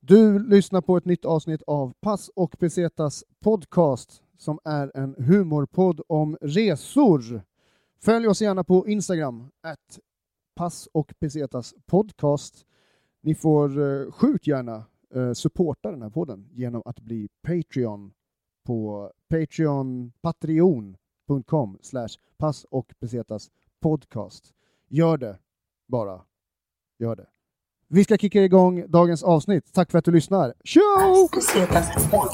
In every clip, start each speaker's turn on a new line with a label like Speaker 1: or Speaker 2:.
Speaker 1: Du lyssnar på ett nytt avsnitt av Pass och Pesetas podcast som är en humorpodd om resor. Följ oss gärna på Instagram, att Pass och Pesetas podcast. Ni får eh, sjukt gärna eh, supporta den här podden genom att bli Patreon på Patreon, patreon.com slash pass och pesetas podcast. Gör det bara. Gör det. Vi ska kicka igång dagens avsnitt. Tack för att du lyssnar. Tjo!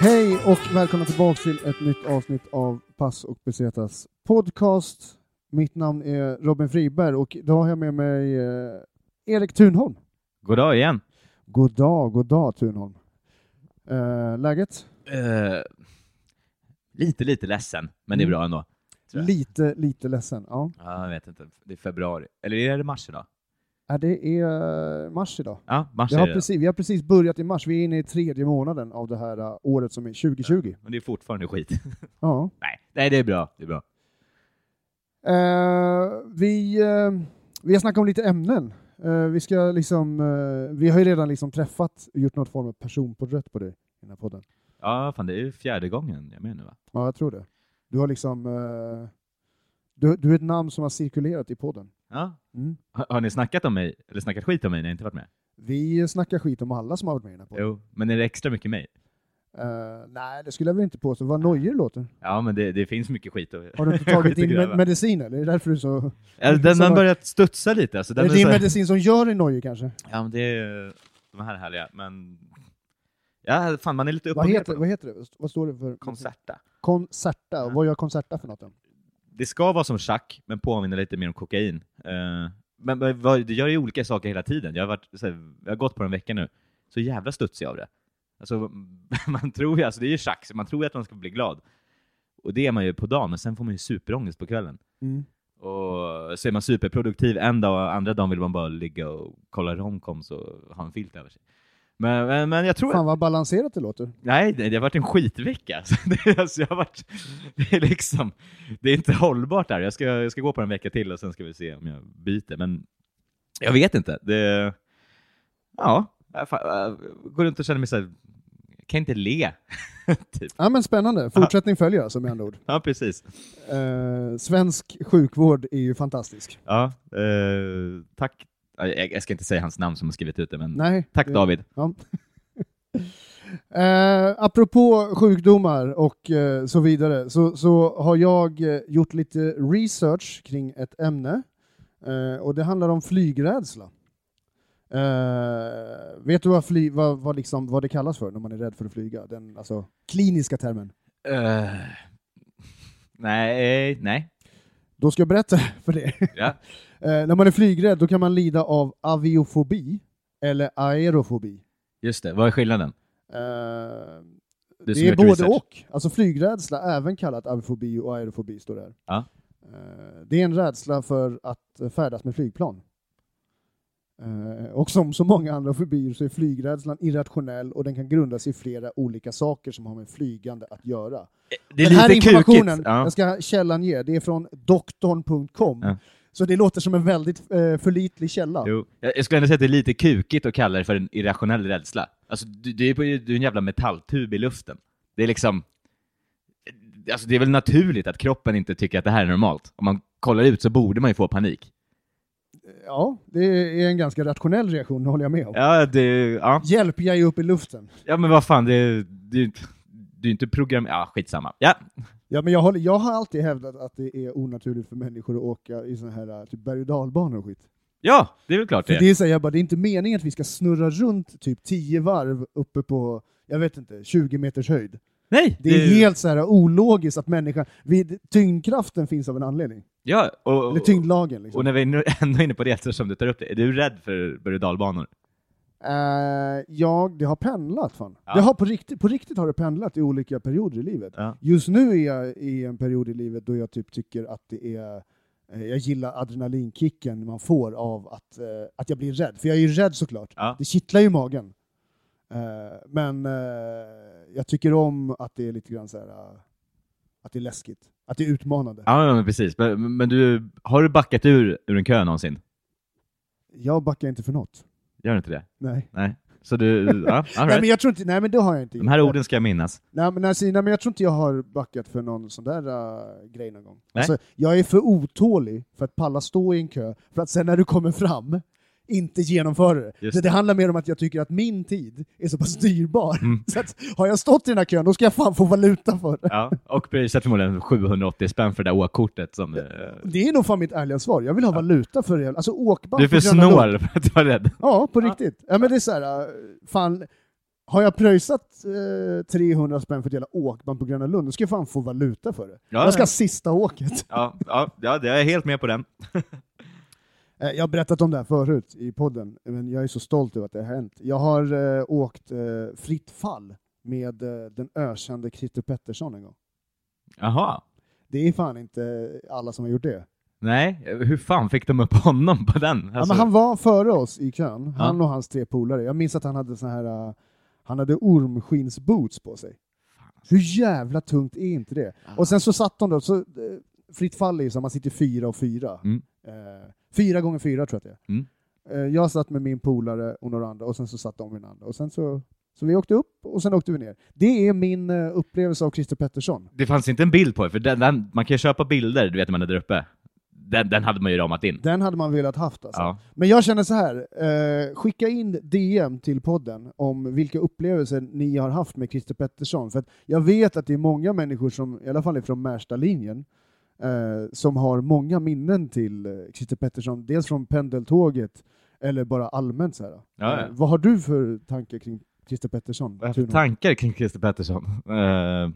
Speaker 1: Hej och välkomna tillbaka till ett nytt avsnitt av Pass och Pesetas podcast. Mitt namn är Robin Friberg och idag har jag med mig eh, Erik Thunholm.
Speaker 2: God dag igen.
Speaker 1: God dag, god dag Thunholm. Eh, läget?
Speaker 2: Eh, lite, lite ledsen, men det är
Speaker 1: Mm.
Speaker 2: bra ändå. tror jag.
Speaker 1: Lite, lite ledsen. Ja.
Speaker 2: Ja, jag vet inte. Det är februari. Eller är det mars idag?
Speaker 1: Ja, det är eh, mars idag.
Speaker 2: Ja, mars
Speaker 1: Det
Speaker 2: är
Speaker 1: har
Speaker 2: det.
Speaker 1: precis, vi har precis börjat i mars. Vi är inne i tredje månaden av det här eh, året som är 2020.
Speaker 2: Men det är fortfarande skit.
Speaker 1: Ja.
Speaker 2: Nej, nej, det är bra. Det är bra.
Speaker 1: Eh, vi, eh, vi har snackat om lite ämnen. Eh, vi, ska liksom, eh, vi har ju redan liksom träffat och gjort något form av personporträtt på dig i den här podden.
Speaker 2: Ja, fan, det är ju fjärde gången jag är med nu va?
Speaker 1: Ja, jag tror det. Du har liksom... eh, du, du är ett namn som har cirkulerat i podden.
Speaker 2: Ja.
Speaker 1: Mm.
Speaker 2: Har, har ni snackat om mig, eller snackat skit om mig när jag inte varit med?
Speaker 1: Vi snackar skit om alla som har varit med i den här podden.
Speaker 2: Jo, men är det extra mycket mig?
Speaker 1: Eh, nej, det skulle jag väl inte påstå. Vad nojig det låter.
Speaker 2: Ja, men det, det finns mycket skit. Och...
Speaker 1: Har du inte tagit
Speaker 2: Skit att
Speaker 1: din
Speaker 2: gräva.
Speaker 1: med- medicin eller? Är det därför du så...
Speaker 2: Ja, den
Speaker 1: som
Speaker 2: har
Speaker 1: har-
Speaker 2: börjat studsa lite. Alltså, den
Speaker 1: är
Speaker 2: är
Speaker 1: det din
Speaker 2: så här-
Speaker 1: medicin som gör dig nojig kanske?
Speaker 2: Ja, men det är de här är härliga, men... Ja, fan, man är lite upp
Speaker 1: Vad
Speaker 2: och ner på
Speaker 1: heter, vad
Speaker 2: dem.
Speaker 1: heter det? Vad står det för?
Speaker 2: Konserta.
Speaker 1: Konserta.
Speaker 2: Ja.
Speaker 1: Vad gör Konserta för något? Då?
Speaker 2: det ska vara som schack, men påminner lite mer om kokain. Eh, men men vad, det gör ju olika saker hela tiden. Jag har, varit, så här, jag har gått på det en vecka nu, så jävla studsig av det. Alltså, man tror ju, alltså det är ju schack, så man tror ju att man ska bli glad. Och det är man ju på dagen, men sen får man ju superångest på kvällen. Och så är man superproduktiv en dag, och andra dagen vill man bara ligga och kolla romcoms och ha en filt över sig. Men, men, men jag tror
Speaker 1: Fan vad balanserat det låter.
Speaker 2: Nej, det, det har varit en skitvecka. Så det, alltså, jag har varit, det, är liksom, det är inte hållbart där. Jag ska, jag ska gå på en vecka till och sen ska vi se om jag byter. Men jag vet inte. Det, ja, jag fa- jag äh, går runt och känner mig så här, jag kan inte le. typ.
Speaker 1: Ja, men spännande. Fortsättning följer alltså med andra ord.
Speaker 2: Ja, precis.
Speaker 1: Eh, svensk sjukvård är ju fantastisk.
Speaker 2: Ja, eh, tack. Ja, Jag, jag ska inte säga hans namn som har skrivit ut det, men
Speaker 1: Nej,
Speaker 2: tack
Speaker 1: det-
Speaker 2: David.
Speaker 1: Ja. Eh, apropå sjukdomar och eh, så vidare så, så har jag eh, gjort lite research kring ett ämne eh, och det handlar om flygrädsla. Eh, vet du vad, fly, vad, vad, liksom, vad det kallas för när man är rädd för att flyga? Den alltså, kliniska termen.
Speaker 2: Eh, nej, nej.
Speaker 1: Då ska jag berätta för dig.
Speaker 2: Ja.
Speaker 1: Eh, när man är flygrädd då kan man lida av aviofobi eller aerofobi.
Speaker 2: Just det, vad är skillnaden?
Speaker 1: Eh,
Speaker 2: Du som
Speaker 1: det är
Speaker 2: gjort
Speaker 1: både
Speaker 2: research.
Speaker 1: och. Alltså flygrädsla, även kallat aviofobi och aerofobi, står det här.
Speaker 2: Ja.
Speaker 1: Eh, det är en rädsla för att eh, färdas med flygplan. Eh, och som så många andra fobier så är flygrädslan irrationell och den kan grunda sig i flera olika saker som har med flygande att göra.
Speaker 2: Det är
Speaker 1: Den här
Speaker 2: lite
Speaker 1: informationen,
Speaker 2: kukigt. Ja.
Speaker 1: jag ska källan ge, det är från doktorn.com.
Speaker 2: Ja.
Speaker 1: Så det låter som en väldigt eh, förlitlig källa.
Speaker 2: Jo. Jag jag skulle ändå säga att det är lite kukigt att kalla det för en irrationell rädsla. Alltså, du, du, är, på, du är en jävla metalltub i luften. Det är liksom... Alltså, det är väl naturligt att kroppen inte tycker att det här är normalt. Om man kollar ut så borde man ju få panik.
Speaker 1: Ja, det är en ganska rationell reaktion, det håller jag med om.
Speaker 2: Ja, det, ja.
Speaker 1: Hjälp, jag är upp i luften.
Speaker 2: ja men vad fan, det, du, du är inte program... Ja, skitsamma. Ja,
Speaker 1: Ja, men jag, håller, jag har alltid hävdat att det är onaturligt för människor att åka i såna här eh, typ berg och dalbanor och skit.
Speaker 2: ja det är väl klart
Speaker 1: För
Speaker 2: det.
Speaker 1: det är, så här, jag bara, det är inte meningen att vi ska snurra runt typ 10 varv uppe på, jag vet inte, 20 meters höjd.
Speaker 2: Nej!
Speaker 1: Det är helt så här ologiskt att människan... Vi, tyngdkraften finns av en anledning.
Speaker 2: Ja, och, och,
Speaker 1: Eller tyngdlagen liksom.
Speaker 2: och när vi är nu- ändå är inne på det eftersom du tar upp det, är du rädd för berg och dalbanor?
Speaker 1: Eh, jag, det har pendlat fan.
Speaker 2: Ja.
Speaker 1: Det har på, riktigt, på riktigt har det pendlat i olika perioder i livet.
Speaker 2: Ja.
Speaker 1: Just nu är jag i en period i livet då jag typ tycker att det är eh, jag gillar adrenalinkicken man får av att, eh, att jag blir rädd. För jag är ju rädd såklart.
Speaker 2: Ja.
Speaker 1: Det kittlar ju i magen. Eh, men eh, jag tycker om att det är lite grann så här, eh, att det är läskigt. Att det är utmanande.
Speaker 2: Ja, men precis. Men, men du, har du backat ur, ur en kö någonsin?
Speaker 1: Jag backar inte för något.
Speaker 2: Gör du inte det?
Speaker 1: Nej.
Speaker 2: Nej. Så du, ja, all
Speaker 1: Nej,
Speaker 2: right.
Speaker 1: men jag tror inte, nej men det har jag inte
Speaker 2: De här
Speaker 1: gjort.
Speaker 2: orden ska jag minnas.
Speaker 1: Nej men, alltså, nej men jag tror inte jag har backat för någon sån där äh, grej någon gång.
Speaker 2: Nej.
Speaker 1: Alltså, jag är för otålig för att palla stå i en kö, för att sen när du kommer fram inte genomföra det.
Speaker 2: Just
Speaker 1: det. Det
Speaker 2: det.
Speaker 1: handlar mer om att jag tycker att min tid är så pass dyrbar.
Speaker 2: Mm.
Speaker 1: Så att, har jag stått i den här kön, då ska jag fan få valuta för det.
Speaker 2: Ja. Och priset förmodligen 780 spänn för det där åkkortet som... eh,
Speaker 1: Det är nog fan mitt ärliga svar. Jag vill ha valuta för det. Alltså åkband
Speaker 2: Du är för
Speaker 1: på Gröna Lund.
Speaker 2: snål för att vara rädd.
Speaker 1: Ja, på riktigt. Ja, men det är så här, äh, fan, har jag pröjsat eh, 300 spänn för ett jävla åkband på Gröna Lund, då ska jag fan få valuta för det.
Speaker 2: Ja,
Speaker 1: jag ska
Speaker 2: ja.
Speaker 1: ha sista åket.
Speaker 2: Ja, ja, ja, det är jag helt med på den.
Speaker 1: Eh, Jag har berättat om det här förut i podden, men jag är så stolt över att det har hänt. Jag har eh, åkt eh, fritt fall med eh, den ökände Christer Pettersson en gång.
Speaker 2: Jaha.
Speaker 1: Det är fan inte alla som har gjort det.
Speaker 2: Nej, hur fan fick de upp honom på den?
Speaker 1: Ja, men han var före oss i kön,
Speaker 2: Alltså- Ja.
Speaker 1: han och hans tre polare. Jag minns att han hade sån här, eh, han hade ormskinsboots på sig. Hur jävla tungt är inte det? Och sen så satt de då, så, eh, fritt fall är ju så, man sitter fyra och fyra.
Speaker 2: Mm.
Speaker 1: Eh, fyra gånger fyra tror jag att det är.
Speaker 2: Mm.
Speaker 1: Eh, jag satt med min polare och några andra, och sen så satt de med den andra. Och sen så, så vi åkte upp, och sen åkte vi ner. Det är min eh, upplevelse av Christer Pettersson.
Speaker 2: Det fanns inte en bild på det, för den, den, man kan ju köpa bilder, du vet när man är där uppe. Den, den hade man ju ramat in.
Speaker 1: Den hade man velat haft alltså.
Speaker 2: Ja.
Speaker 1: Men jag känner så här, eh, skicka in DM till podden om vilka upplevelser ni har haft med Christer Pettersson. För att jag vet att det är många människor, som, i alla fall från Märsta-linjen, eh, som har många minnen till eh, Christer Pettersson. Dels från pendeltåget eller bara allmänt. Så här.
Speaker 2: Ja, Eh,
Speaker 1: Eh,
Speaker 2: ja.
Speaker 1: vad har du för tankar kring Christer Pettersson?
Speaker 2: Vad har jag för
Speaker 1: Tuno?
Speaker 2: tankar kring Christer Pettersson? Eh,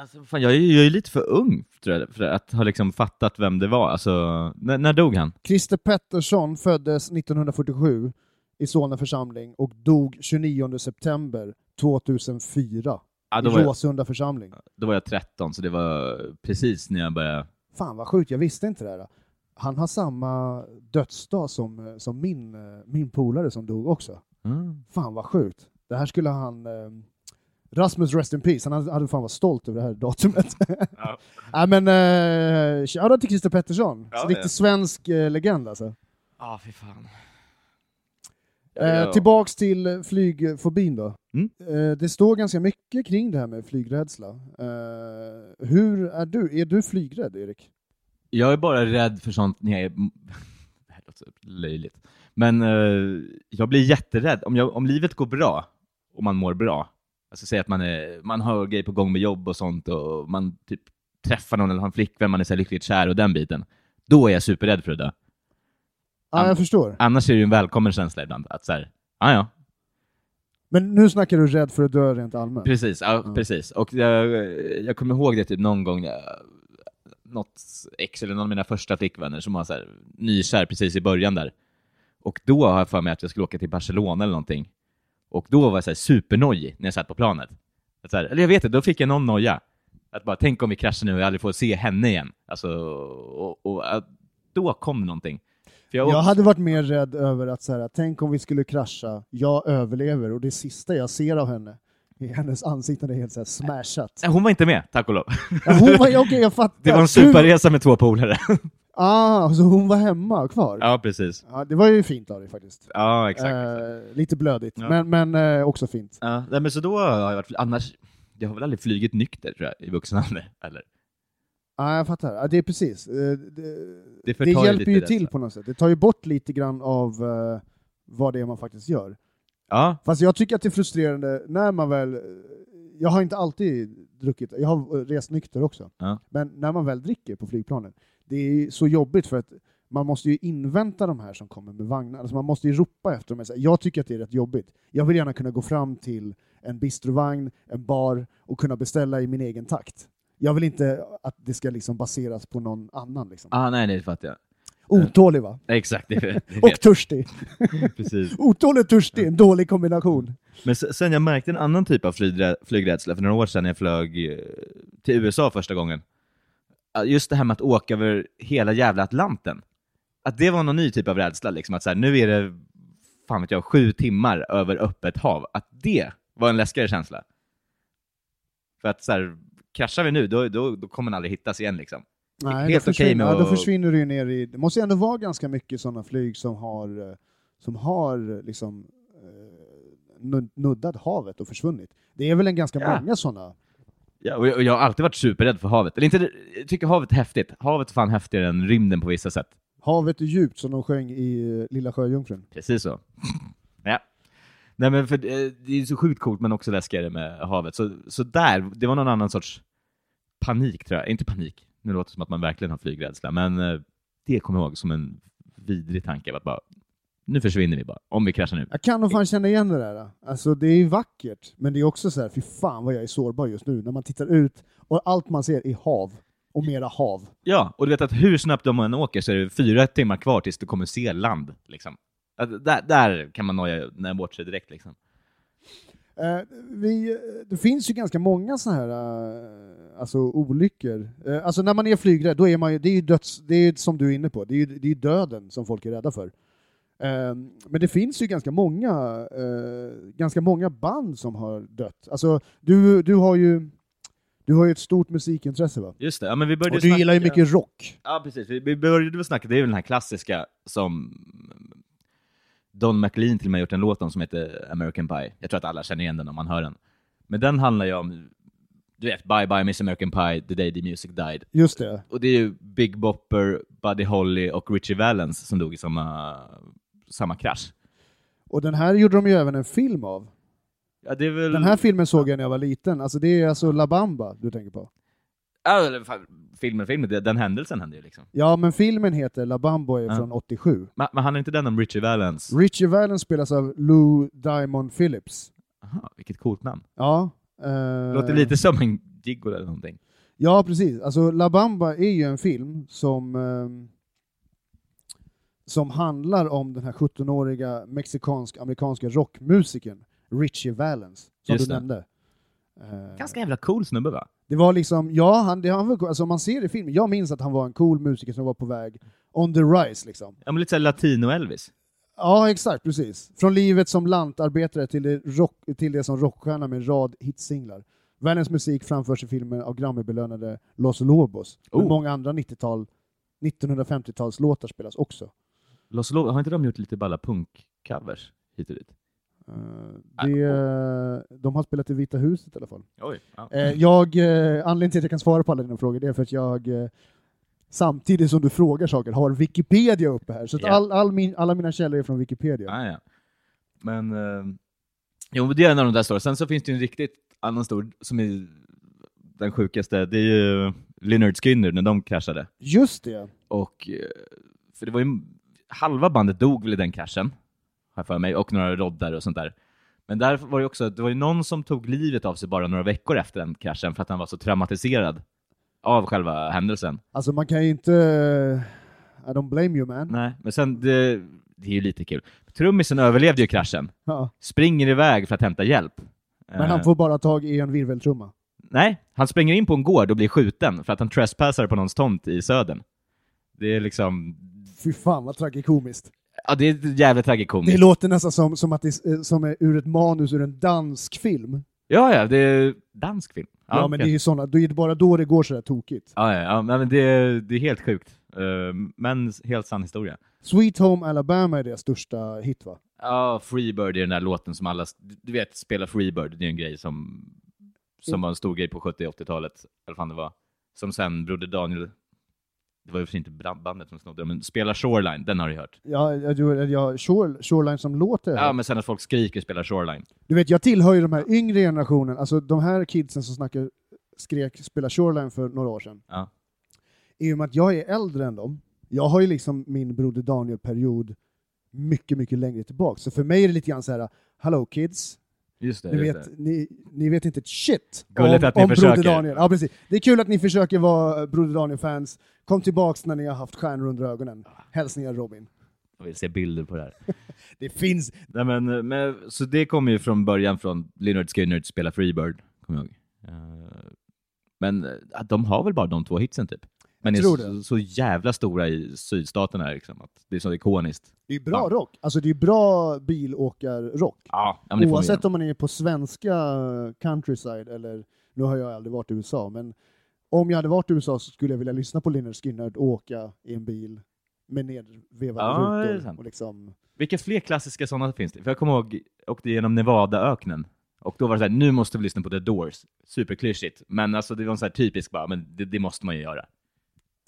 Speaker 2: alltså, fan, jag, är, ju- jag är lite för ung tror jag, för att ha liksom fattat vem det var. Alltså, när, när dog han?
Speaker 1: Christer Pettersson föddes 1947 i Solna församling och dog 29 september 2004
Speaker 2: Ja,
Speaker 1: i
Speaker 2: då, var jag,
Speaker 1: Råsunda församling.
Speaker 2: då var jag 13, så det var precis när jag började.
Speaker 1: Fan vad sjukt, jag visste inte det här. Han har samma dödsdag som, som min, eh, min polare som dog också.
Speaker 2: Mm.
Speaker 1: Fan vad sjukt. Det här skulle han... eh, Rasmus Rest in Peace, han hade- hade fan varit stolt över det här datumet.
Speaker 2: Ja.
Speaker 1: Nej men, eh, shoutout till Christer Pettersson.
Speaker 2: Ja,
Speaker 1: Så riktig
Speaker 2: ja.
Speaker 1: svensk eh, legend alltså.
Speaker 2: Ah, fy fan. typ
Speaker 1: Eh, Tillbaks till eh, flygfobin då.
Speaker 2: Mm.
Speaker 1: Eh, det står ganska mycket kring det här med flygrädsla. Eh, hur är du? Är du flygrädd, Erik?
Speaker 2: Jag är bara rädd för sånt när jag är... Det här låter löjligt. Men eh, jag blir jätterädd. Om, jag, om livet går bra och man mår bra, alltså säg att man, är, man har grejer på gång med jobb och sånt och man typ träffar någon eller har en flickvän, man är så här lyckligt kär och den biten. Då är jag superrädd för att dö.
Speaker 1: Ja,
Speaker 2: An-
Speaker 1: jag förstår.
Speaker 2: Annars är det ju en välkommen känsla ibland. Att så här, "Ah, ja ja,
Speaker 1: Men nu snackar du rädd för att dö rent allmänt.
Speaker 2: Precis, ja,
Speaker 1: Liksom. Ja.
Speaker 2: precis. Och jag, jag kommer ihåg det typ någon gång, eh, något ex eller någon av mina första flickvänner som var så här, nykär precis i början där. Och då har jag för mig att jag skulle åka till Barcelona eller någonting. Och då var jag så här supernojig när jag satt på planet. Att så här, eller jag vet inte, då fick jag någon noja. Att bara, tänk om vi kraschar nu och jag aldrig får se henne igen. Alltså, och, och, att då kom någonting. För jag, åkte-
Speaker 1: Jag hade varit mer rädd över att så här, tänk om vi skulle krascha, jag överlever och det sista jag ser av henne är hennes ansikte när det är helt så här smashat.
Speaker 2: Nej, Hon var inte med, tack och lov.
Speaker 1: Ja, hon var, okej, jag fattar.
Speaker 2: Det var en
Speaker 1: Du-
Speaker 2: superresa med två polare.
Speaker 1: Ah, så hon var hemma kvar? Ja.
Speaker 2: Ja, precis.
Speaker 1: det var ju fint av dig faktiskt.
Speaker 2: Ja, exakt. exakt.
Speaker 1: Eh, lite blödigt,
Speaker 2: Ja.
Speaker 1: men, men eh, också fint.
Speaker 2: Ja, nej, men så då har jag varit, annars, jag har väl aldrig flugit nykter tror jag, i vuxen ålder, eller?
Speaker 1: Ja, jag fattar. Ja, det är precis. Eh, det,
Speaker 2: Det, alltså.
Speaker 1: det
Speaker 2: förtar
Speaker 1: hjälper ju
Speaker 2: lite
Speaker 1: till
Speaker 2: rädslan.
Speaker 1: på något sätt. Det tar ju bort lite grann av eh, vad det är man faktiskt gör.
Speaker 2: Ja,
Speaker 1: Fast jag tycker att det är frustrerande när man väl... Jag har inte alltid druckit, jag har rest nykter också.
Speaker 2: Ja.
Speaker 1: Men när man väl dricker på flygplanen, det är så jobbigt för att man måste ju invänta de här som kommer med vagnar. Alltså man måste ju ropa efter dem. Jag säger, Jag tycker att det är rätt jobbigt. Jag vill gärna kunna gå fram till en bistrovagn, en bar och kunna beställa i min egen takt. Jag vill inte att det ska liksom baseras på någon annan. Liksom.
Speaker 2: Ah, nej, det fattar jag.
Speaker 1: Otålig va?
Speaker 2: Exakt, det, det
Speaker 1: Och
Speaker 2: vet
Speaker 1: törstig.
Speaker 2: jag. Precis.
Speaker 1: Otålig och törstig, en dålig kombination.
Speaker 2: Men se- sen jag märkte en annan typ av flygrädsla, flygrädsla för några år sedan när jag flög eh, till USA första gången. Ah, Just det här med att åka över hela jävla Atlanten. Att det var någon ny typ av rädsla, liksom att så här, nu är det fan vet jag, sju timmar över öppet hav. Att det var en läskigare känsla. För att så här, kraschar vi nu, då, då, då kommer den aldrig hittas igen liksom.
Speaker 1: Nej, då
Speaker 2: Helt okej
Speaker 1: försvinner,
Speaker 2: med
Speaker 1: ja, då
Speaker 2: att-
Speaker 1: försvinner du ju ner i... Det måste ju ändå vara ganska mycket sådana flyg som har, eh, som har eh, liksom, eh, nud- nuddat havet och försvunnit. Det är väl en ganska
Speaker 2: Ja.
Speaker 1: många sådana.
Speaker 2: Ja, och jag, och jag har alltid varit superrädd för havet. Eller inte, jag tycker havet är häftigt. Havet är fan häftigare än rymden på vissa sätt.
Speaker 1: Havet är djupt, som de sjöng i eh, Lilla Sjöjungfrun.
Speaker 2: Precis så. ja. Nej, men för, eh, det är så sjukt coolt, men också läskigare med havet. Så, så där, det var någon annan sorts panik, tror jag. Inte panik, nu låter det som att man verkligen har flygrädsla, men eh, det kommer jag ihåg som en vidrig tanke. av Att bara, nu försvinner vi bara, om vi kraschar nu.
Speaker 1: Jag kan nog fan känna igen det där. Alltså det är ju vackert, men det är också så här, fy fan vad jag är sårbar just nu när man tittar ut och allt man ser är hav och mera hav.
Speaker 2: Ja, och du vet att hur snabbt de än åker så är det fyra timmar kvar tills du kommer se land. Liksom. Att där, där kan man noja när bort sig direkt. Liksom.
Speaker 1: Eh, vi, det finns ju ganska många sådana här eh, alltså, olyckor. Eh, alltså när man är flygrädd, då är man ju, det är ju döds, det är ju som du är inne på, det är ju, det är ju döden som folk är rädda för. Eh, men det finns ju ganska många, eh, ganska många band som har dött. Alltså du, du har ju, du har ju ett stort musikintresse va?
Speaker 2: Just det, ja, men vi började
Speaker 1: Och du gillar ju
Speaker 2: snacka-
Speaker 1: mycket rock.
Speaker 2: Ja, precis. Vi, vi började väl snacka, det är väl den här klassiska som Don McLean till och med gjort en låt om som heter American Pie. Jag tror att alla känner igen den om man hör den. Men den handlar ju om, du vet, Bye Bye Miss American Pie, The Day the Music Died.
Speaker 1: Just det.
Speaker 2: Och det är ju Big Bopper, Buddy Holly och Richie Valens som dog i samma, samma krasch.
Speaker 1: Och den här gjorde de ju även en film av.
Speaker 2: Ja, det är väl...
Speaker 1: Den här filmen såg jag när jag var liten. Alltså det är alltså La Bamba du tänker på.
Speaker 2: Ja, eller fan, filmen, filmen, det- den händelsen hände ju liksom.
Speaker 1: Ja, men filmen heter La Bamba och är
Speaker 2: Ja.
Speaker 1: från 87.
Speaker 2: Men, men handlar inte den om Richie Valens?
Speaker 1: Richie Valens spelas av Lou Diamond Phillips.
Speaker 2: Aha, vilket coolt namn.
Speaker 1: Ja. eh,
Speaker 2: Låter lite som en gigolo eller någonting.
Speaker 1: Ja, precis. Alltså, La Bamba är ju en film som, eh, som handlar om den här 17-åriga mexikansk-amerikanska rockmusikern Richie Valens, som
Speaker 2: Just
Speaker 1: du
Speaker 2: det.
Speaker 1: nämnde. Eh,
Speaker 2: Ganska jävla cool snubbe va?
Speaker 1: Det var liksom, ja, han, det, han var, cool. alltså, om man ser i filmen, jag minns att han var en cool musiker som var på väg on the rise. Liksom.
Speaker 2: Ja, men lite såhär latino-Elvis.
Speaker 1: Ja, exakt, precis. Från livet som lantarbetare till det, rock, till det som rockstjärna med en rad hitsinglar. Världens musik framförs i filmen av Grammybelönade Los Lobos. Men
Speaker 2: Oh.
Speaker 1: många andra 90-tal, 1950-talslåtar spelas också.
Speaker 2: Los Lo- har inte de gjort lite balla punk-covers hit och dit?
Speaker 1: Eh, det,
Speaker 2: Äh,
Speaker 1: eh, de har spelat i Vita huset i alla fall.
Speaker 2: Oj. Ja.
Speaker 1: Eh, jag, eh, anledningen till att jag kan svara på alla dina frågor det är för att jag eh, samtidigt som du frågar saker har Wikipedia uppe här. Så att
Speaker 2: Ja.
Speaker 1: all, all min, alla mina källor är från Wikipedia.
Speaker 2: Ah, ja. Men, eh, jo, men det är en av de där stora. Sen så finns det ju en riktigt annan stor, som är den sjukaste. Det är ju Lynyrd Skynyrd när de kraschade.
Speaker 1: Just det.
Speaker 2: Och, eh, för det var ju, halva bandet dog väl i den kraschen, har jag för mig, och några roddar och sånt där. Men där var det också, det var ju någon som tog livet av sig bara några veckor efter den kraschen för att han var så traumatiserad av själva händelsen.
Speaker 1: Alltså man kan ju inte... eh, I don't blame you man.
Speaker 2: Nej, men sen, det, det är ju lite kul. Trummisen överlevde ju kraschen,
Speaker 1: Ja.
Speaker 2: springer iväg för att hämta hjälp. Eh,
Speaker 1: Men han får bara tag i en virveltrumma.
Speaker 2: Nej, han springer in på en gård och blir skjuten för att han trespassar på någons tomt i södern. Det är liksom,
Speaker 1: Fy fan vad tragikomiskt.
Speaker 2: ja det är jävligt tragikomiskt.
Speaker 1: Det låter nästan som, som att det är, eh, som är ur ett manus ur en dansk film.
Speaker 2: Ja, ja, det är dansk film.
Speaker 1: Ja, men det är
Speaker 2: okej.
Speaker 1: ju såna, det är ju bara då det går sådär tokigt.
Speaker 2: Ja, ja, ja, men det, det är helt sjukt. Eh, Men helt sann historia.
Speaker 1: Sweet Home Alabama är deras största hit va?
Speaker 2: Ja, Freebird är den där låten som alla, du vet, spela Freebird, det är en grej som, som var en stor grej på 70 och 80-talet, eller fan det var, som sen Broder Daniel, det var ju för sig inte band- bandet som snodde den, men spela Shoreline, den har du hört.
Speaker 1: Ja, jag, jag, jag, Shore, Shoreline som låter.
Speaker 2: Ja, men sen att folk skriker spela Shoreline.
Speaker 1: Du vet, jag tillhör ju de här yngre generationen, alltså de här kidsen som snackar, skrek spela Shoreline för några år sedan.
Speaker 2: Ja.
Speaker 1: I och med att jag är äldre än dem, Jag har ju liksom min Broder Daniel-period mycket, mycket längre tillbaka. Så för mig är det lite grann så här, hello kids,
Speaker 2: Just det.
Speaker 1: ni
Speaker 2: just det.
Speaker 1: vet, ni, ni vet inte ett shit
Speaker 2: Gulligt
Speaker 1: om,
Speaker 2: att ni
Speaker 1: om Broder
Speaker 2: försöker.
Speaker 1: Daniel. Ja, precis. Det är kul att ni försöker vara Broder Daniel-fans. Kom tillbaks när ni har haft stjärnor under ögonen. Hälsningar Robin.
Speaker 2: Jag vill se bilder på det här.
Speaker 1: Det finns...
Speaker 2: Nej, men, eh, men, så det kommer ju från början från Leonard Skinner att spela Freebird, kommer jag ihåg. Eh, Men eh, de har väl bara de två hitsen typ? Men
Speaker 1: Jag
Speaker 2: är
Speaker 1: tror
Speaker 2: så, så jävla stora i sydstaterna liksom, att det är så ikoniskt.
Speaker 1: Det är bra
Speaker 2: Ja.
Speaker 1: rock. Alltså det är bra bilåkarrock.
Speaker 2: Ja, men det får
Speaker 1: Oavsett
Speaker 2: man
Speaker 1: om man är på svenska countryside eller, nu har jag aldrig varit i USA, men om jag hade varit i USA så skulle jag vilja lyssna på Lynyrd Skynyrd och åka i en bil med nedvevade
Speaker 2: Ja, det är
Speaker 1: rutor.
Speaker 2: sant.
Speaker 1: Och liksom,
Speaker 2: Vilka fler klassiska sådana finns det? För jag kommer ihåg, jag åkte genom Nevadaöknen. Och då var det såhär, nu måste vi lyssna på The Doors. Superklyschigt. Men alltså det var en sån här typisk bara, men det, det måste man ju göra.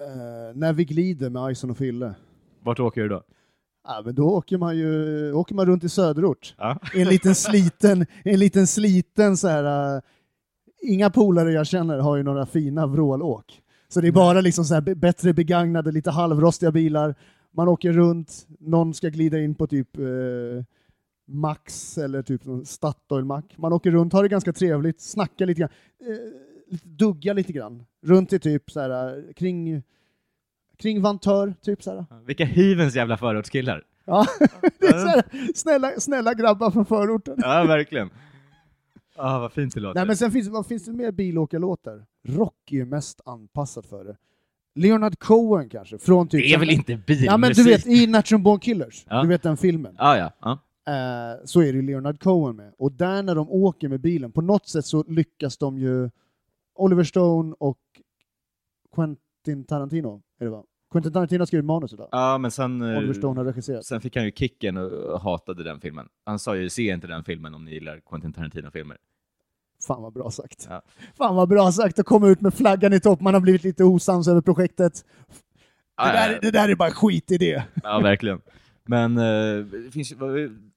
Speaker 1: eh, när vi glider med Ison och Fille,
Speaker 2: Vart åker du då?
Speaker 1: ja, men då åker man ju åker man runt i söderort.
Speaker 2: Ja.
Speaker 1: I En liten sliten, en liten sliten så här, eh, inga polare jag känner har ju några fina vrålåk. Så det är bara liksom så här be- bättre begagnade, lite halvrostiga bilar. Man åker runt, någon ska glida in på typ eh, Max eller typ någon Statoil-mack. Man åker runt, har det ganska trevligt, snackar lite grann, eh, lite- duggar lite grann. Runt i typ så här eh, kring, kring Vantör, typ så här.
Speaker 2: Vilka hyvens jävla förortskillar.
Speaker 1: Ja. Det är så här snälla, snälla grabbar från förorten.
Speaker 2: Ja, verkligen. Ah, vad fint det låter.
Speaker 1: Nej, men sen finns, vad finns det mer bilåkarlåtar? Rock är ju mest anpassat för det. Leonard Cohen kanske, från typ...
Speaker 2: Det är väl inte bilmusik?
Speaker 1: Ja, men du vet, i Natural Born Killers,
Speaker 2: Ja.
Speaker 1: du vet den filmen,
Speaker 2: Ah, ja, ja.
Speaker 1: eh, så är det ju Leonard Cohen med. Och där när de åker med bilen, på något sätt så lyckas de ju... Oliver Stone och Quentin Tarantino, är det va? Quentin Tarantino har skrivit manuset, va?
Speaker 2: Ja, men sen, eh,
Speaker 1: Oliver Stone har regisserat.
Speaker 2: sen fick han ju kicken och- och hatade den filmen. Han sa ju se inte den filmen om ni gillar Quentin Tarantino-filmer.
Speaker 1: Fan vad bra sagt.
Speaker 2: Ja.
Speaker 1: Fan vad bra sagt att komma ut med flaggan i topp, man har blivit lite osams över projektet. Det
Speaker 2: Ah, ja,
Speaker 1: där,
Speaker 2: ja.
Speaker 1: det där är bara skit i det.
Speaker 2: Ja, verkligen. Men eh, det finns ju, vad-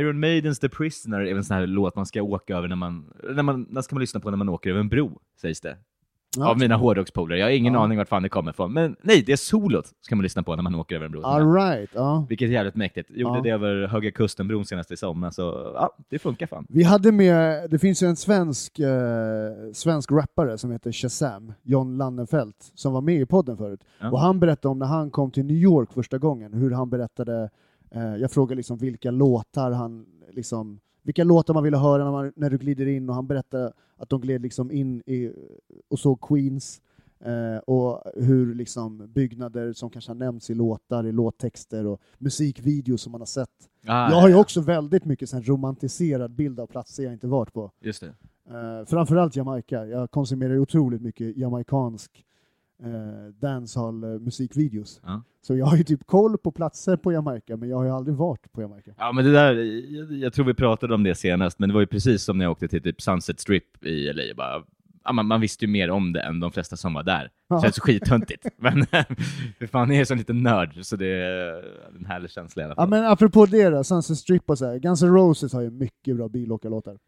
Speaker 2: Iron Maidens The Prisoner är väl en sån här låt man ska åka över när man, när man, när ska man lyssna på när man åker över en bro, sägs det.
Speaker 1: Ja.
Speaker 2: Av mina hårdrockspolare. Jag har ingen
Speaker 1: Ja.
Speaker 2: aning vart fan det kommer ifrån. Men nej, det är solot ska man lyssna på när man åker över en bro.
Speaker 1: All right, ja.
Speaker 2: Vilket är jävligt mäktigt. Gjorde
Speaker 1: Ja.
Speaker 2: det över Höga Kusten-bron senast i somras, så ja, det funkar fan.
Speaker 1: Vi hade med, det finns ju en svensk, eh, svensk rappare som heter Shazam, John Lannenfelt, som var med i podden förut.
Speaker 2: Ja.
Speaker 1: Och han berättade om när han kom till New York första gången, hur han berättade, eh, jag frågade liksom vilka låtar han liksom, vilka låtar man ville höra när, man, när du glider in och han berättade att de gled liksom in i, och såg Queens eh, och hur liksom byggnader som kanske har nämnts i låtar, i låttexter och musikvideos som man har sett
Speaker 2: Ah,
Speaker 1: jag har ju också väldigt mycket en romantiserad bild av platser jag inte varit på.
Speaker 2: Just det.
Speaker 1: Uh, framförallt Jamaica. Jag konsumerar ju otroligt mycket jamaicansk uh, dancehall-musikvideos.
Speaker 2: Ja.
Speaker 1: Så jag har ju typ koll på platser på Jamaica, men jag har ju aldrig varit på Jamaica.
Speaker 2: Ja, men det där, jag, jag tror vi pratade om det senast, men det var ju precis som när jag åkte till typ Sunset Strip i LA. Bara, ja, man, man visste ju mer om det än de flesta som var där.
Speaker 1: Ja.
Speaker 2: Det känns skithuntigt, men för fan, jag är så en liten nörd, så det är en härlig känsla i alla
Speaker 1: Ja,
Speaker 2: fall.
Speaker 1: men apropå det då, Sunset Strip och så här. Guns N' Roses har ju mycket bra bilåkarlåtar.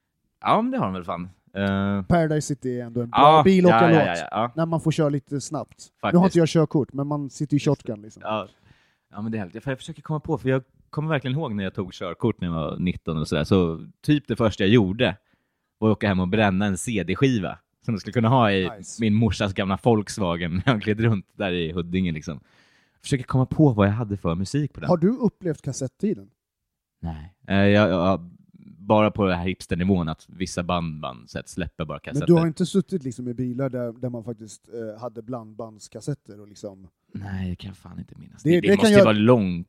Speaker 2: Ja, men det har de väl fan. Eh,
Speaker 1: Paradise City är ändå en bra
Speaker 2: Ah, ja,
Speaker 1: bilåkarlåt.
Speaker 2: Ja, ja, ja, ja.
Speaker 1: När man får köra lite snabbt. Nu har
Speaker 2: Faktiskt.
Speaker 1: inte jag körkort, men man sitter ju shotgun liksom.
Speaker 2: Ja, ja men det är härligt. För Jag försöker komma på, för jag kommer verkligen ihåg när jag tog körkort när jag var 19 och sådär, så typ det första jag gjorde var att åka hem och bränna en CD-skiva som jag skulle kunna ha i
Speaker 1: Nice.
Speaker 2: min morsas gamla Volkswagen när jag gled runt där i Huddinge liksom. Försöker komma på vad jag hade för musik på den.
Speaker 1: Har du upplevt kassettiden?
Speaker 2: Nej. Eh, Jag, jag, bara på den här hipsternivån att vissa band, band så att släpper bara
Speaker 1: Men
Speaker 2: kassetter.
Speaker 1: du har inte suttit liksom i bilar där, där man faktiskt eh, hade blandbandskassetter och liksom...
Speaker 2: Nej, jag kan fan inte minnas.
Speaker 1: Det-
Speaker 2: Det, det,
Speaker 1: det kan
Speaker 2: måste ju
Speaker 1: jag-
Speaker 2: vara långt.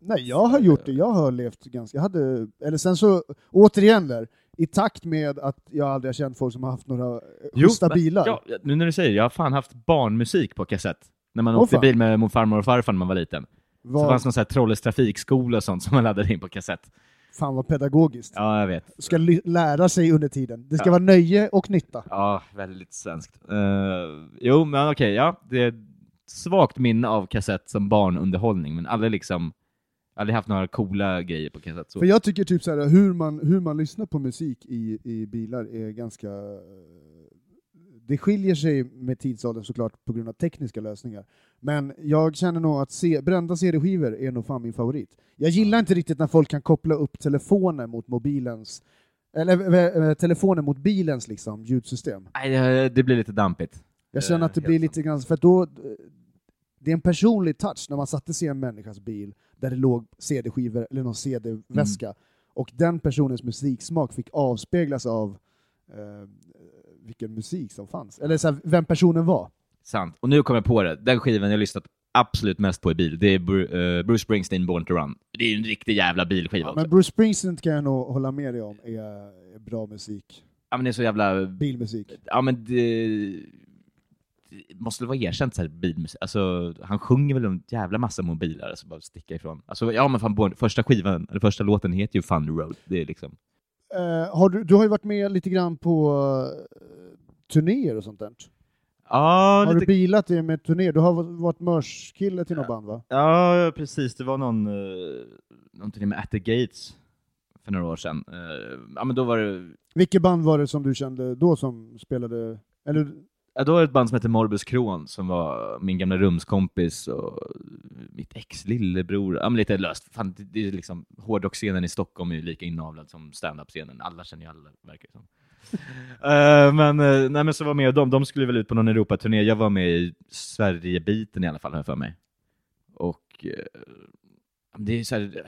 Speaker 1: Nej, jag har gjort det. Jag har levt ganska... Jag hade... Eller sen så, återigen där, i takt med att jag aldrig har känt folk som har haft några eh, schyssta
Speaker 2: men-
Speaker 1: bilar.
Speaker 2: Ja, nu när du säger det, jag har fan haft barnmusik på kassett. När man
Speaker 1: Åh,
Speaker 2: åkte
Speaker 1: fan.
Speaker 2: bil med min farmor och farfar när man var liten. Så
Speaker 1: var,
Speaker 2: fanns det någon sån här Trolles trafikskola och sånt som man laddade in på kassett.
Speaker 1: Fan vad pedagogiskt.
Speaker 2: Ja, jag vet.
Speaker 1: Ska ly- lära sig under tiden. Det ska vara nöje och nytta.
Speaker 2: Ja, väldigt svenskt. Eh, jo, men okej, ja. Det är ett svagt minne av kassett som barnunderhållning, men aldrig liksom aldrig haft några coola grejer på kassett. Så.
Speaker 1: För jag tycker typ så här, hur man, hur man lyssnar på musik i, i bilar är ganska... eh, Det skiljer sig med tidsåldern såklart på grund av tekniska lösningar. Men jag känner nog att se, brända CD-skivor är nog fan min favorit. Jag gillar inte riktigt när folk kan koppla upp telefonen mot mobilens eller eh, eh, telefonen mot bilens liksom, ljudsystem.
Speaker 2: Nej, det- det blir lite dampigt.
Speaker 1: Jag känner
Speaker 2: Eh,
Speaker 1: att det
Speaker 2: helt
Speaker 1: blir
Speaker 2: sant.
Speaker 1: lite grann, för att då, det är en personlig touch när man satte sig i en människas bil där det låg CD-skivor eller någon CD-väska
Speaker 2: Mm.
Speaker 1: och den personens musiksmak fick avspeglas av eh, vilken musik som fanns, eller så här, vem personen var.
Speaker 2: Sant. Och nu kommer jag på det. Den skivan jag lyssnat absolut mest på i bil, det är Bru- eh, Bruce Springsteen, Born to Run. Det är ju en riktig jävla bilskiva
Speaker 1: Ja,
Speaker 2: också.
Speaker 1: men Bruce Springsteen kan jag nog hålla med dig om är, är bra musik,
Speaker 2: Ja, men det är så jävla...
Speaker 1: bilmusik.
Speaker 2: Ja, men det... det måste väl vara erkänt så här bilmusik. Alltså, han sjunger väl en jävla massa om bilar, alltså bara sticka ifrån. Alltså, ja, men fan, Born... första skivan, eller första låten heter ju Thunder Road. Det är liksom...
Speaker 1: Eh, har du, du har ju varit med lite grann på eh, turnéer och sånt där.
Speaker 2: Ja,
Speaker 1: Har du
Speaker 2: lite
Speaker 1: bilat det med turnéer? Du har varit mörskille till något band va?
Speaker 2: Ja, precis. Det var någon, uh, någonting med At the Gates för några år sedan. Eh, ja, men då var det
Speaker 1: Vilket band var det som du kände då som spelade? Eller,
Speaker 2: ja, då var det ett band som hette Morbus Kron som var min gamla rumskompis och mitt ex lillebror. Ja, men lite löst. Fan, det, det är liksom, hårdrockscenen i Stockholm är ju lika inavlad som standup-scenen. Alla känner ju alla, verkar det som. Eh, men, uh, nej, men så var jag med dem. De skulle väl ut på någon Europaturné. Jag var med i Sverigebiten i alla fall, har jag för mig. Och eh, det är ju så här,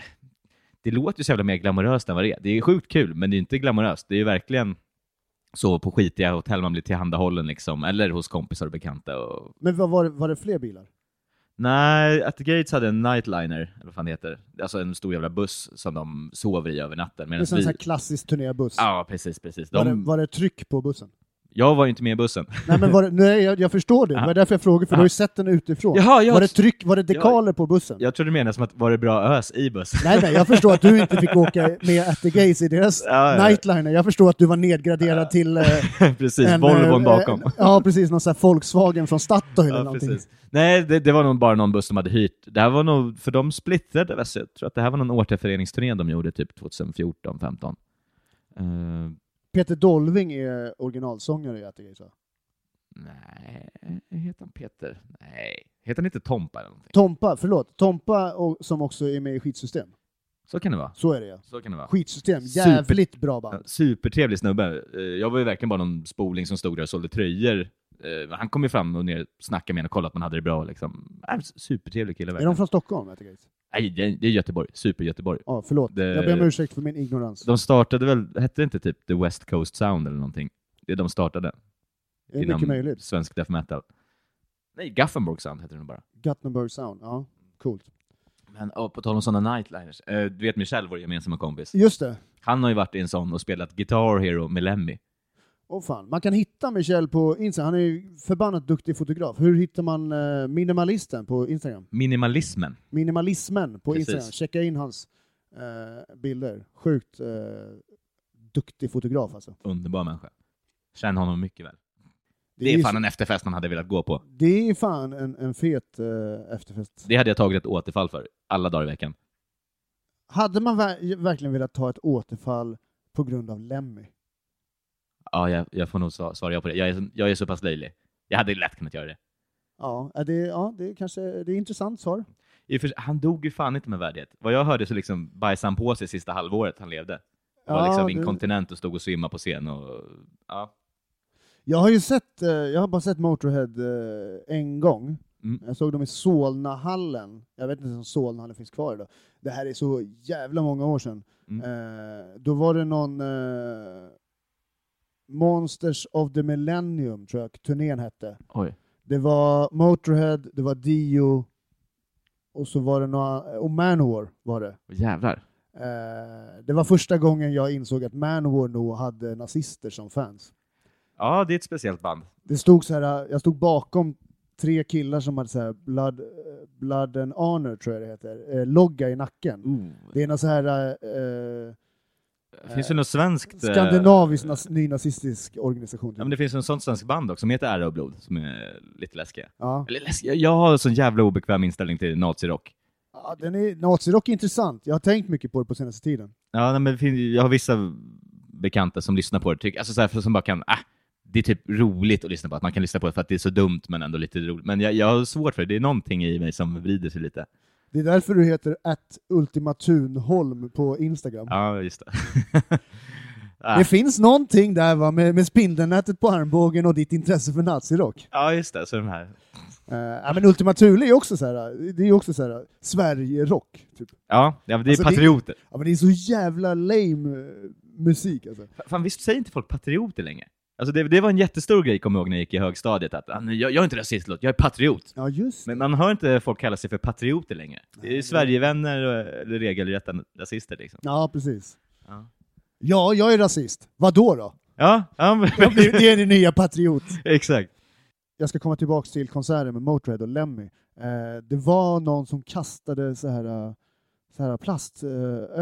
Speaker 2: det låter ju så jävla mer glamoröst än vad det är. Det är sjukt kul, men det är inte glamoröst. Det är ju verkligen sova på skitiga hotell man blir tillhandahållen liksom, eller hos kompisar och bekanta. Och...
Speaker 1: men vad var, det, var det fler bilar?
Speaker 2: Nej, At the Gates hade en nightliner, eller vad fan det heter, alltså en stor jävla buss som de sover i över natten.
Speaker 1: Det
Speaker 2: Medan
Speaker 1: är sån
Speaker 2: vi...
Speaker 1: här klassisk turnébuss.
Speaker 2: Ja, precis, precis.
Speaker 1: Var, det,
Speaker 2: De...
Speaker 1: var det tryck på bussen?
Speaker 2: Jag var ju inte med i bussen.
Speaker 1: Nej, men var det, nej jag, jag förstår det. Det var därför jag frågade, för du har ju sett den utifrån.
Speaker 2: Jaha, jag-
Speaker 1: Var det tryck, var det dekaler på bussen?
Speaker 2: Jag trodde du menade som att, var det bra ös i bussen?
Speaker 1: Nej, nej, jag förstår att du inte fick åka med At the Gates i deras
Speaker 2: Ja, ja.
Speaker 1: nightliner. Jag förstår att du var nedgraderad till eh,
Speaker 2: precis,
Speaker 1: en...
Speaker 2: Volvon
Speaker 1: eh,
Speaker 2: bakom.
Speaker 1: en- ja, precis. Någon sån här Volkswagen från Statoil eller
Speaker 2: Ja,
Speaker 1: någonting.
Speaker 2: precis. Nej, det, det var nog bara någon buss de hade hyrt. Det här var nog, för de splittrade, väl, så jag tror att det här var någon återföreningsturné de gjorde typ Eh, 2014, 15
Speaker 1: Peter Dolving är originalsångare i At the Gates, va?
Speaker 2: Nej, heter han Peter? Nej. Heter han inte Tompa eller någonting?
Speaker 1: Tompa, förlåt. Tompa och, som också är med i Skitsystem.
Speaker 2: Så kan det vara.
Speaker 1: Så är det ja.
Speaker 2: Så kan det vara.
Speaker 1: Skitsystem,
Speaker 2: Super-
Speaker 1: jävligt bra
Speaker 2: Ja,
Speaker 1: band.
Speaker 2: Supertrevlig snubbe. Eh, Jag var ju verkligen bara någon spoling som stod där och sålde tröjor. Eh, Han kom ju fram och ner och snackade med en och kollade att man hade det bra. Liksom. Äh, Supertrevlig kille
Speaker 1: Är de
Speaker 2: verkligen.
Speaker 1: från Stockholm? Jag tycker.
Speaker 2: Nej, det är- det är Göteborg. Super-Göteborg.
Speaker 1: Ja, förlåt.
Speaker 2: Det-
Speaker 1: Jag ber om ursäkt för min ignorans.
Speaker 2: De startade väl, hette det inte typ The West Coast Sound eller någonting? Det de startade.
Speaker 1: Det är mycket möjligt.
Speaker 2: svensk death metal. Nej, Gothenburg Sound heter det nog bara.
Speaker 1: Gothenburg Sound, ja. Coolt.
Speaker 2: Men oh, på tal om sådana nightliners. Eh, du vet Michel, vår gemensamma kompis.
Speaker 1: Just det.
Speaker 2: Han har ju varit i en sån och spelat Guitar Hero med Lemmy.
Speaker 1: Åh fan. Man kan hitta Michel på Instagram. Han är ju förbannat duktig fotograf. Hur hittar man eh, minimalisten på Instagram?
Speaker 2: Minimalismen.
Speaker 1: Minimalismen på
Speaker 2: Precis.
Speaker 1: Instagram. Checka in hans eh, bilder. Sjukt eh, duktig fotograf alltså.
Speaker 2: Underbar människa. Känner honom mycket väl. Det,
Speaker 1: ju
Speaker 2: är fan
Speaker 1: så-
Speaker 2: en efterfest man hade velat gå på.
Speaker 1: det är ju fan en, en fet eh, efterfest.
Speaker 2: Det hade jag tagit ett återfall för, alla dagar i veckan.
Speaker 1: Hade man ver- verkligen velat ta ett återfall på grund av Lemmy?
Speaker 2: Ja, jag, jag får nog sva- svara ja på det. Jag är, jag är så pass löjlig. Jag hade lätt kunnat göra det.
Speaker 1: Ja, är det, ja det, är kanske, det är intressant svar.
Speaker 2: I och för sig, han dog ju fan inte med värdighet. Vad jag hörde så liksom bajsade han på sig sista halvåret han levde. Han var
Speaker 1: Ja,
Speaker 2: liksom
Speaker 1: det-
Speaker 2: inkontinent och stod och svimmade på scen och... Ja.
Speaker 1: Jag har ju sett, eh, jag har bara sett Motorhead eh, en gång.
Speaker 2: Mm.
Speaker 1: Jag såg dem i Solnahallen. Jag vet inte ens om Solnahallen finns kvar idag. Det här är så jävla många år sedan.
Speaker 2: Mm.
Speaker 1: Eh, då var det någon eh, Monsters of the Millennium, tror jag turnén hette.
Speaker 2: Oj.
Speaker 1: Det var Motorhead, det var Dio, och så var det några, eh, och Manowar var det.
Speaker 2: Jävlar.
Speaker 1: Eh, det var första gången jag insåg att Manowar nog hade nazister som fans.
Speaker 2: Ja, det är ett speciellt band.
Speaker 1: Det stod så här, jag stod bakom tre killar som hade så här Blood, eh, Blood and Honor, tror jag det heter, eh, logga i nacken. Det är någon så här eh,
Speaker 2: Finns det något svenskt? eh,
Speaker 1: skandinavisk nas- nynazistisk organisation. Typ.
Speaker 2: Ja, men det finns en sån svensk band också som heter Ära och blod, som är lite läskiga.
Speaker 1: Ja.
Speaker 2: Eller läskiga, Alltså, jag har en sån jävla obekväm inställning till nazirock.
Speaker 1: Ja, den är, nazirock är intressant. Jag har tänkt mycket på det på senaste tiden.
Speaker 2: Ja, nej, men det finns- jag har vissa bekanta som lyssnar på det, tycker, alltså så här, som bara kan, ah, det är typ roligt att lyssna på, att man kan lyssna på det för att det är så dumt men ändå lite roligt. Men jag, jag har svårt för det, det är någonting i mig som vrider sig lite.
Speaker 1: Det är därför du heter att Ultima Thunholm på Instagram.
Speaker 2: Ja, just det. Ah.
Speaker 1: Det finns någonting där va, med, med spindelnätet på armbågen och ditt intresse för nazirock.
Speaker 2: Ja, just det. Så de här.
Speaker 1: Eh, ja, men Ultima Thule är ju också så här, det är ju också så här, Sverige-rock. Typ.
Speaker 2: Ja, ja men det är
Speaker 1: Alltså, det-
Speaker 2: patrioter.
Speaker 1: Ja, men det är så jävla lame eh, musik alltså.
Speaker 2: Fa- Fan, visst säger inte folk patrioter längre? Alltså det, det var en jättestor grej, kommer jag ihåg, när jag gick i högstadiet. Att, "Ah, nej, jag, jag är inte rasist, Lott, jag är patriot.
Speaker 1: Ja, just
Speaker 2: Men man hör inte folk kalla sig för patrioter längre. Det är
Speaker 1: Nej, det-
Speaker 2: ju Sverigevänner och- eller regelrätta rasister liksom.
Speaker 1: Ja, precis.
Speaker 2: Ja.
Speaker 1: Ja, jag är rasist. Vad då? då?
Speaker 2: Ja, ja men,
Speaker 1: Jag blir- Det är din nya patriot.
Speaker 2: exakt.
Speaker 1: Jag ska komma tillbaka till konserten med Motörhead och Lemmy. Eh, det var någon som kastade så här, eh, så här plast, eh,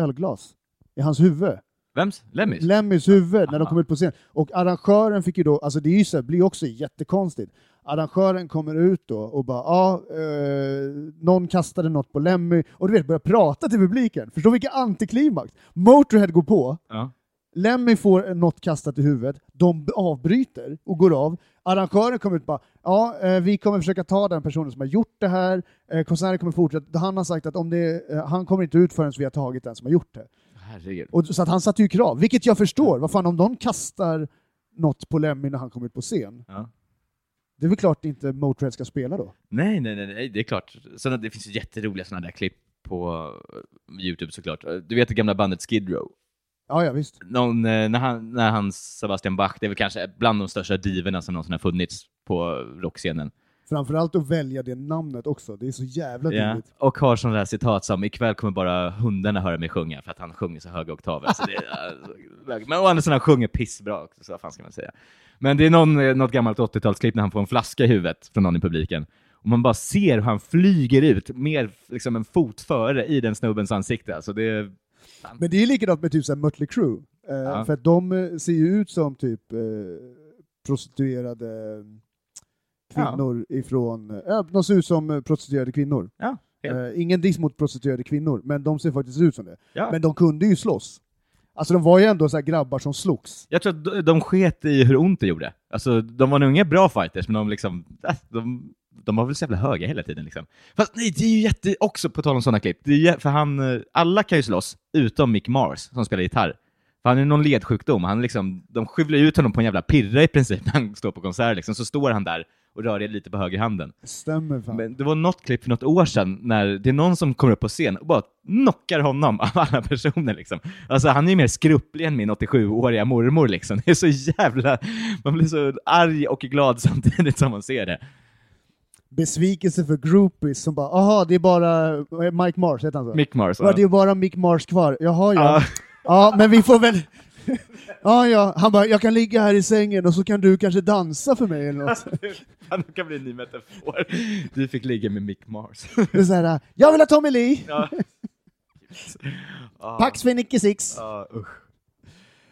Speaker 1: ölglas i hans huvud.
Speaker 2: Vems? Lemmys?
Speaker 1: Lemmys huvud när de
Speaker 2: Aha.
Speaker 1: kom ut på scen. Och arrangören fick ju då, alltså det är ju så här, blir ju också jättekonstigt. Arrangören kommer ut då och bara, ja, eh, någon kastade något på Lemmy och du vet, börjar prata till publiken. Förstå vilken antiklimax! Motorhead går på,
Speaker 2: ja.
Speaker 1: Lemmy får något kastat i huvudet, de avbryter och går av. Arrangören kommer ut och bara ja, eh, vi kommer försöka ta den personen som har gjort det här. Eh, Konserten kommer fortsätta. Han har sagt att om det, eh, han kommer inte ut förrän vi har tagit den som har gjort det.
Speaker 2: Herregud.
Speaker 1: Och, så att han satte ju krav, vilket jag förstår. Vad fan, om någon kastar något på Lemmy när han kommer ut på scen,
Speaker 2: Ja.
Speaker 1: det är väl klart inte Motörhead ska spela då?
Speaker 2: Nej, nej, nej, nej, det är klart. Såna, det finns ju jätteroliga sådana där klipp på eh, Youtube såklart. Eh, Du vet det gamla bandet Skid Row?
Speaker 1: Ja, ja visst.
Speaker 2: någon, eh, när, han, när han Sebastian Bach, det är väl kanske bland de största diverna som någonsin har funnits på eh, rockscenen.
Speaker 1: Framförallt att välja det namnet också, det är så jävla
Speaker 2: Ja.
Speaker 1: tydligt.
Speaker 2: Och har sådana där citat som “ikväll kommer bara hundarna höra mig sjunga” för att han sjunger så höga oktaver. Så det, är, eh, men å andra sidan, han sjunger pissbra också, så vad fan ska man säga. Men det är någon, eh, något gammalt 80-talsklipp när han får en flaska i huvudet från någon i publiken. Och man bara ser hur han flyger ut, mer liksom en fot före i den snubbens ansikte. Alltså det är
Speaker 1: Men det är ju likadant med typ så här Mötley Crüe, eh,
Speaker 2: Ja.
Speaker 1: för att de eh, ser ju ut som typ eh, prostituerade mm, kvinnor ifrån... Ja, de ser ut som eh, prostituerade kvinnor.
Speaker 2: Ja, helt.
Speaker 1: eh, ingen diss mot prostituerade kvinnor, men de ser faktiskt ut som det.
Speaker 2: Ja.
Speaker 1: Men de kunde ju slåss. Alltså de var ju ändå så här grabbar som slogs.
Speaker 2: Jag tror att de- de sket i hur ont det gjorde. Alltså, de var nog inga bra fighters, men de liksom... äh, De, de var väl så jävla höga hela tiden liksom. Fast nej, det är ju jätte... Också på tal om sådana klipp. Det är, jä- för han... eh, Alla kan ju slåss, utom Mick Mars som spelar gitarr. För han har ju någon ledsjukdom. Han liksom, de skyvlar ju ut honom på en jävla pirra i princip när han står på konsert. Liksom. Så står han där och rör lite på högerhanden.
Speaker 1: Stämmer fan.
Speaker 2: Men det var något klipp för något år sedan när det är någon som kommer upp på scen och bara knockar honom av alla personer. Liksom. Alltså, han är ju mer skrupplig än min 87-åriga mormor. Liksom. Det är så jävla... Man blir så arg och glad samtidigt som man ser det.
Speaker 1: Besvikelse för groupies som bara ”aha, det är bara eh, Mike Mars”, heter han så?
Speaker 2: Mick Mars.
Speaker 1: ja, det är bara Mick Mars kvar. Jaha, ja.
Speaker 2: Ja.
Speaker 1: Ja, men vi får väl... Ja, ja. Han bara, jag kan ligga här i sängen och så kan du kanske dansa för mig eller något.
Speaker 2: Han kan bli en ny metafor. Du fick ligga med Mick Mars.
Speaker 1: Det är så här, jag vill ha Tommy Lee!
Speaker 2: Ja. Ja.
Speaker 1: Pax för Nicky Six!
Speaker 2: Ja, usch.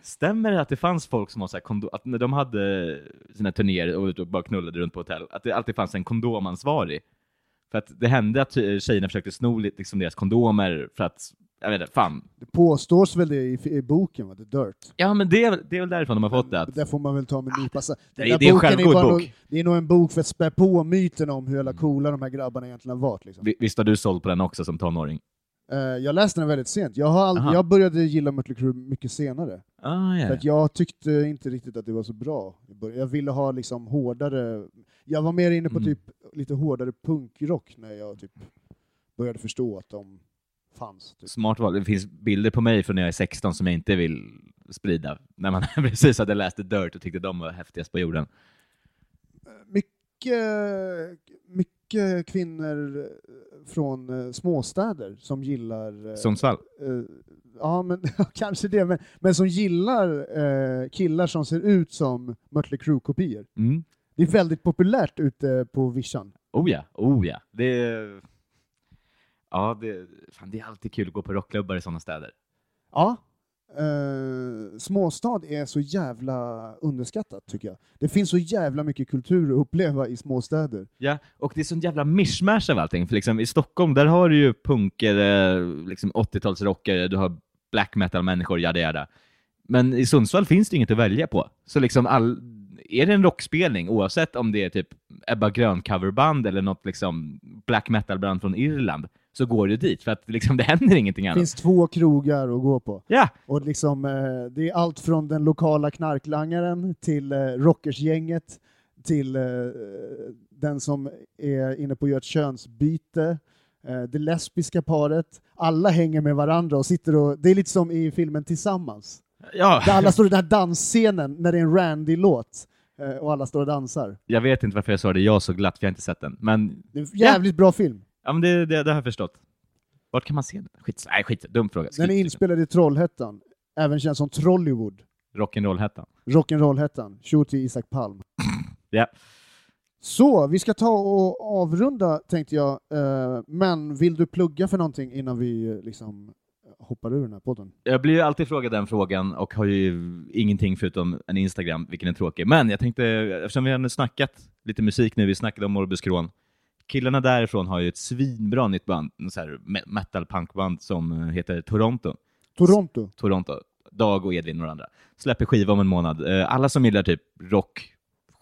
Speaker 2: Stämmer det att det fanns folk som har så här kondom, att när de hade sina turnéer och var ute och bara knullade runt på hotell, att det alltid fanns en kondomansvarig? För att det hände att ty- tjejerna försökte sno li- liksom deras kondomer för att, jag vet inte, fan.
Speaker 1: Det påstås väl det i, i boken, va? The Dirt.
Speaker 2: Ja men det är, väl- det är väl därifrån de har fått det? Att,
Speaker 1: Där får man väl ta med en nypa salt. Den
Speaker 2: det-
Speaker 1: där
Speaker 2: det är en
Speaker 1: boken
Speaker 2: självgod
Speaker 1: bara
Speaker 2: bok.
Speaker 1: nog- det är nog en bok för att spä på myten om hur jävla coola de här grabbarna egentligen har varit. Liksom.
Speaker 2: vi- visst har du sålt på den också som tonåring?
Speaker 1: Eh, jag läste den väldigt sent. Jag, har all,
Speaker 2: Aha.
Speaker 1: jag började gilla Mötley Crüe mycket senare.
Speaker 2: Ah, ja,
Speaker 1: För
Speaker 2: ja.
Speaker 1: att jag tyckte inte riktigt att det var så bra. i början. Jag ville ha liksom hårdare... Jag var mer inne på
Speaker 2: Mm.
Speaker 1: typ lite hårdare punkrock när jag typ började förstå att de fanns. Typ.
Speaker 2: Smart val. Det finns bilder på mig från när jag är 16 som jag inte vill sprida. När man precis hade läst The Dirt och tyckte de var häftigast på jorden.
Speaker 1: Mycket, mycket kvinnor eh, från eh, småstäder som gillar... eh,
Speaker 2: Sundsvall?
Speaker 1: eh, ja, men kanske det. Men, men som gillar eh, killar som ser ut som Mötley Crüe-kopior.
Speaker 2: Mm.
Speaker 1: Det är väldigt populärt ute på vischan.
Speaker 2: Oh ja, oh ja. Det är... Ja, det, fan, det är alltid kul att gå på rockklubbar i sådana städer.
Speaker 1: Ja. Eh, småstad är så jävla underskattat tycker jag. Det finns så jävla mycket kultur att uppleva i småstäder.
Speaker 2: Ja, och det är sån jävla mishmash av allting. För liksom, I Stockholm, där har du ju punkare, liksom 80-talsrockare, du har black metal-människor, yada yada. Men i Sundsvall finns det inget att välja på. Så liksom all, är det en rockspelning, oavsett om det är typ Ebba Grön-coverband eller något liksom black metal-band från Irland, så går du dit för att liksom, det händer ingenting
Speaker 1: Det
Speaker 2: annat.
Speaker 1: finns två krogar att gå på.
Speaker 2: Ja,
Speaker 1: Och liksom, eh, det är allt från den lokala knarklangaren till eh, rockersgänget till eh, den som är inne på att göra ett könsbyte, eh, det lesbiska paret. Alla hänger med varandra och sitter och... Det är lite som i filmen Tillsammans.
Speaker 2: ja.
Speaker 1: Där alla står i den här dansscenen när det är en Randy-låt eh, och alla står och dansar.
Speaker 2: Jag vet inte varför jag sa det, jag så glatt, för jag har inte sett den. Men,
Speaker 1: Det är en jävligt bra film.
Speaker 2: ja, men det, det, det har jag förstått. Vart kan man se den? Skit, nej, skit, dum fråga.
Speaker 1: Den är
Speaker 2: Skit. liksom.
Speaker 1: inspelad i Trollhättan, även känd som Trollywood.
Speaker 2: Rock'n'roll-hettan.
Speaker 1: Rock'n'roll-hettan. Shoot till Isak Palm.
Speaker 2: Ja.
Speaker 1: Så, vi ska ta och avrunda tänkte jag. Eh, Men vill du plugga för någonting innan vi eh, liksom hoppar ur den här podden?
Speaker 2: Jag blir ju alltid frågad den frågan och har ju ingenting förutom en Instagram, vilken är tråkig. Men jag tänkte, eftersom vi har snackat lite musik nu, vi snackade om Morbus Kron. Killarna därifrån har ju ett svinbra nytt band, en så här me- metal-punkband som heter Toronto.
Speaker 1: Toronto.
Speaker 2: Toronto. Dag och Edvin och några andra. Släpper skiva om en månad. Eh, Alla som gillar typ rock,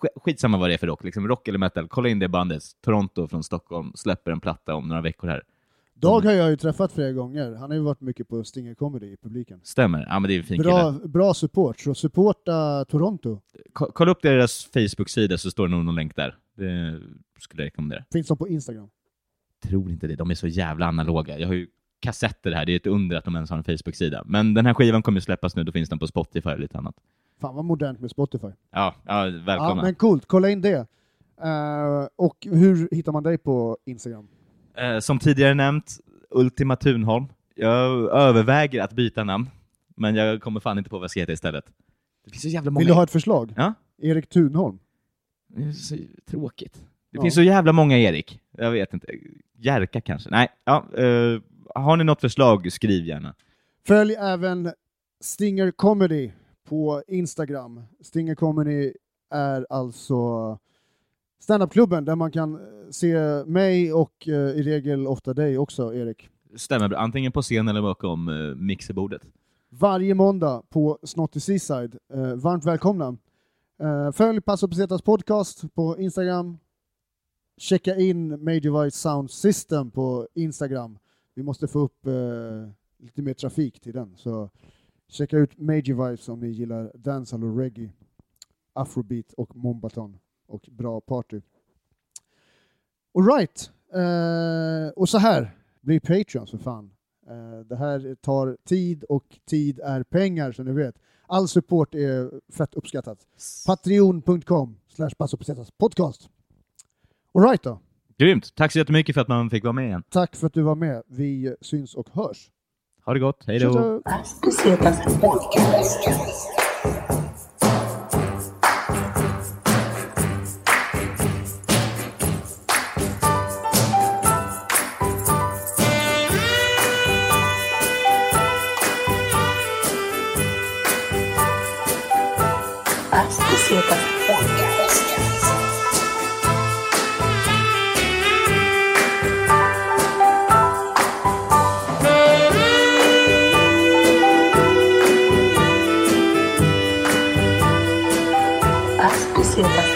Speaker 2: sk- skitsamma vad det är för rock, liksom rock eller metal, kolla in det bandet. Toronto från Stockholm släpper en platta om några veckor här.
Speaker 1: Dag har jag ju träffat flera gånger. Han har ju varit mycket på Stinger Comedy i publiken.
Speaker 2: Stämmer? Ja, men det är en fin kille.
Speaker 1: Bra, bra support, så supporta Toronto.
Speaker 2: Ko- Kolla upp deras Facebook-sida så står det nog någon länk där. Det skulle jag rekommendera.
Speaker 1: Finns de på Instagram?
Speaker 2: Tror inte det. De är så jävla analoga. Jag har ju kassetter här. Det är ett under att de ens har en Facebook-sida. Men den här skivan kommer ju släppas nu. Då finns den på Spotify och lite annat.
Speaker 1: Fan vad modernt med Spotify.
Speaker 2: Ja, ja välkomna.
Speaker 1: Ja, men coolt, kolla in det. Eh, och hur hittar man dig på Instagram?
Speaker 2: Eh, som tidigare nämnt, Ultima Thunholm. Jag överväger att byta namn, men jag kommer fan inte på vad jag ska heta istället. Det finns så jävla många...
Speaker 1: Vill du ha ett förslag?
Speaker 2: Ja.
Speaker 1: Erik Thunholm.
Speaker 2: Det är så tråkigt. Det
Speaker 1: Ja.
Speaker 2: finns så jävla många Erik. Jag vet inte. Jerka kanske? Nej. Ja, eh, har ni något förslag, skriv gärna.
Speaker 1: Följ även Stinger Comedy på Instagram. Stinger Comedy är alltså standupklubben där man kan se mig och eh, i regel ofta dig också, Erik.
Speaker 2: Stämmer bra. Antingen på scen eller bakom eh, mixerbordet.
Speaker 1: Varje måndag på Snotty Seaside. Eh, Varmt välkomna. Eh, Följ Passo Pesetas podcast på Instagram. Checka in Majorvite Sound System på Instagram. Vi måste få upp eh, lite mer trafik till den. Så checka ut Majorvite om ni gillar dancehall och reggae, afrobeat och mombaton och bra party. Alright, eh, och så här, bli Patreon för fan. Eh, Det här tar tid och tid är pengar som ni vet. All support är fett uppskattat. Patreon.com slash Passopesetas podcast. Alright då.
Speaker 2: Grymt! Tack så jättemycket för att man fick vara med igen.
Speaker 1: Tack för att du var med. Vi syns och hörs.
Speaker 2: Ha det gott. Hej då!
Speaker 1: Tja, tja.
Speaker 3: Las Pesetas Podcast. Las Pesetas Podcast. Las Pesetas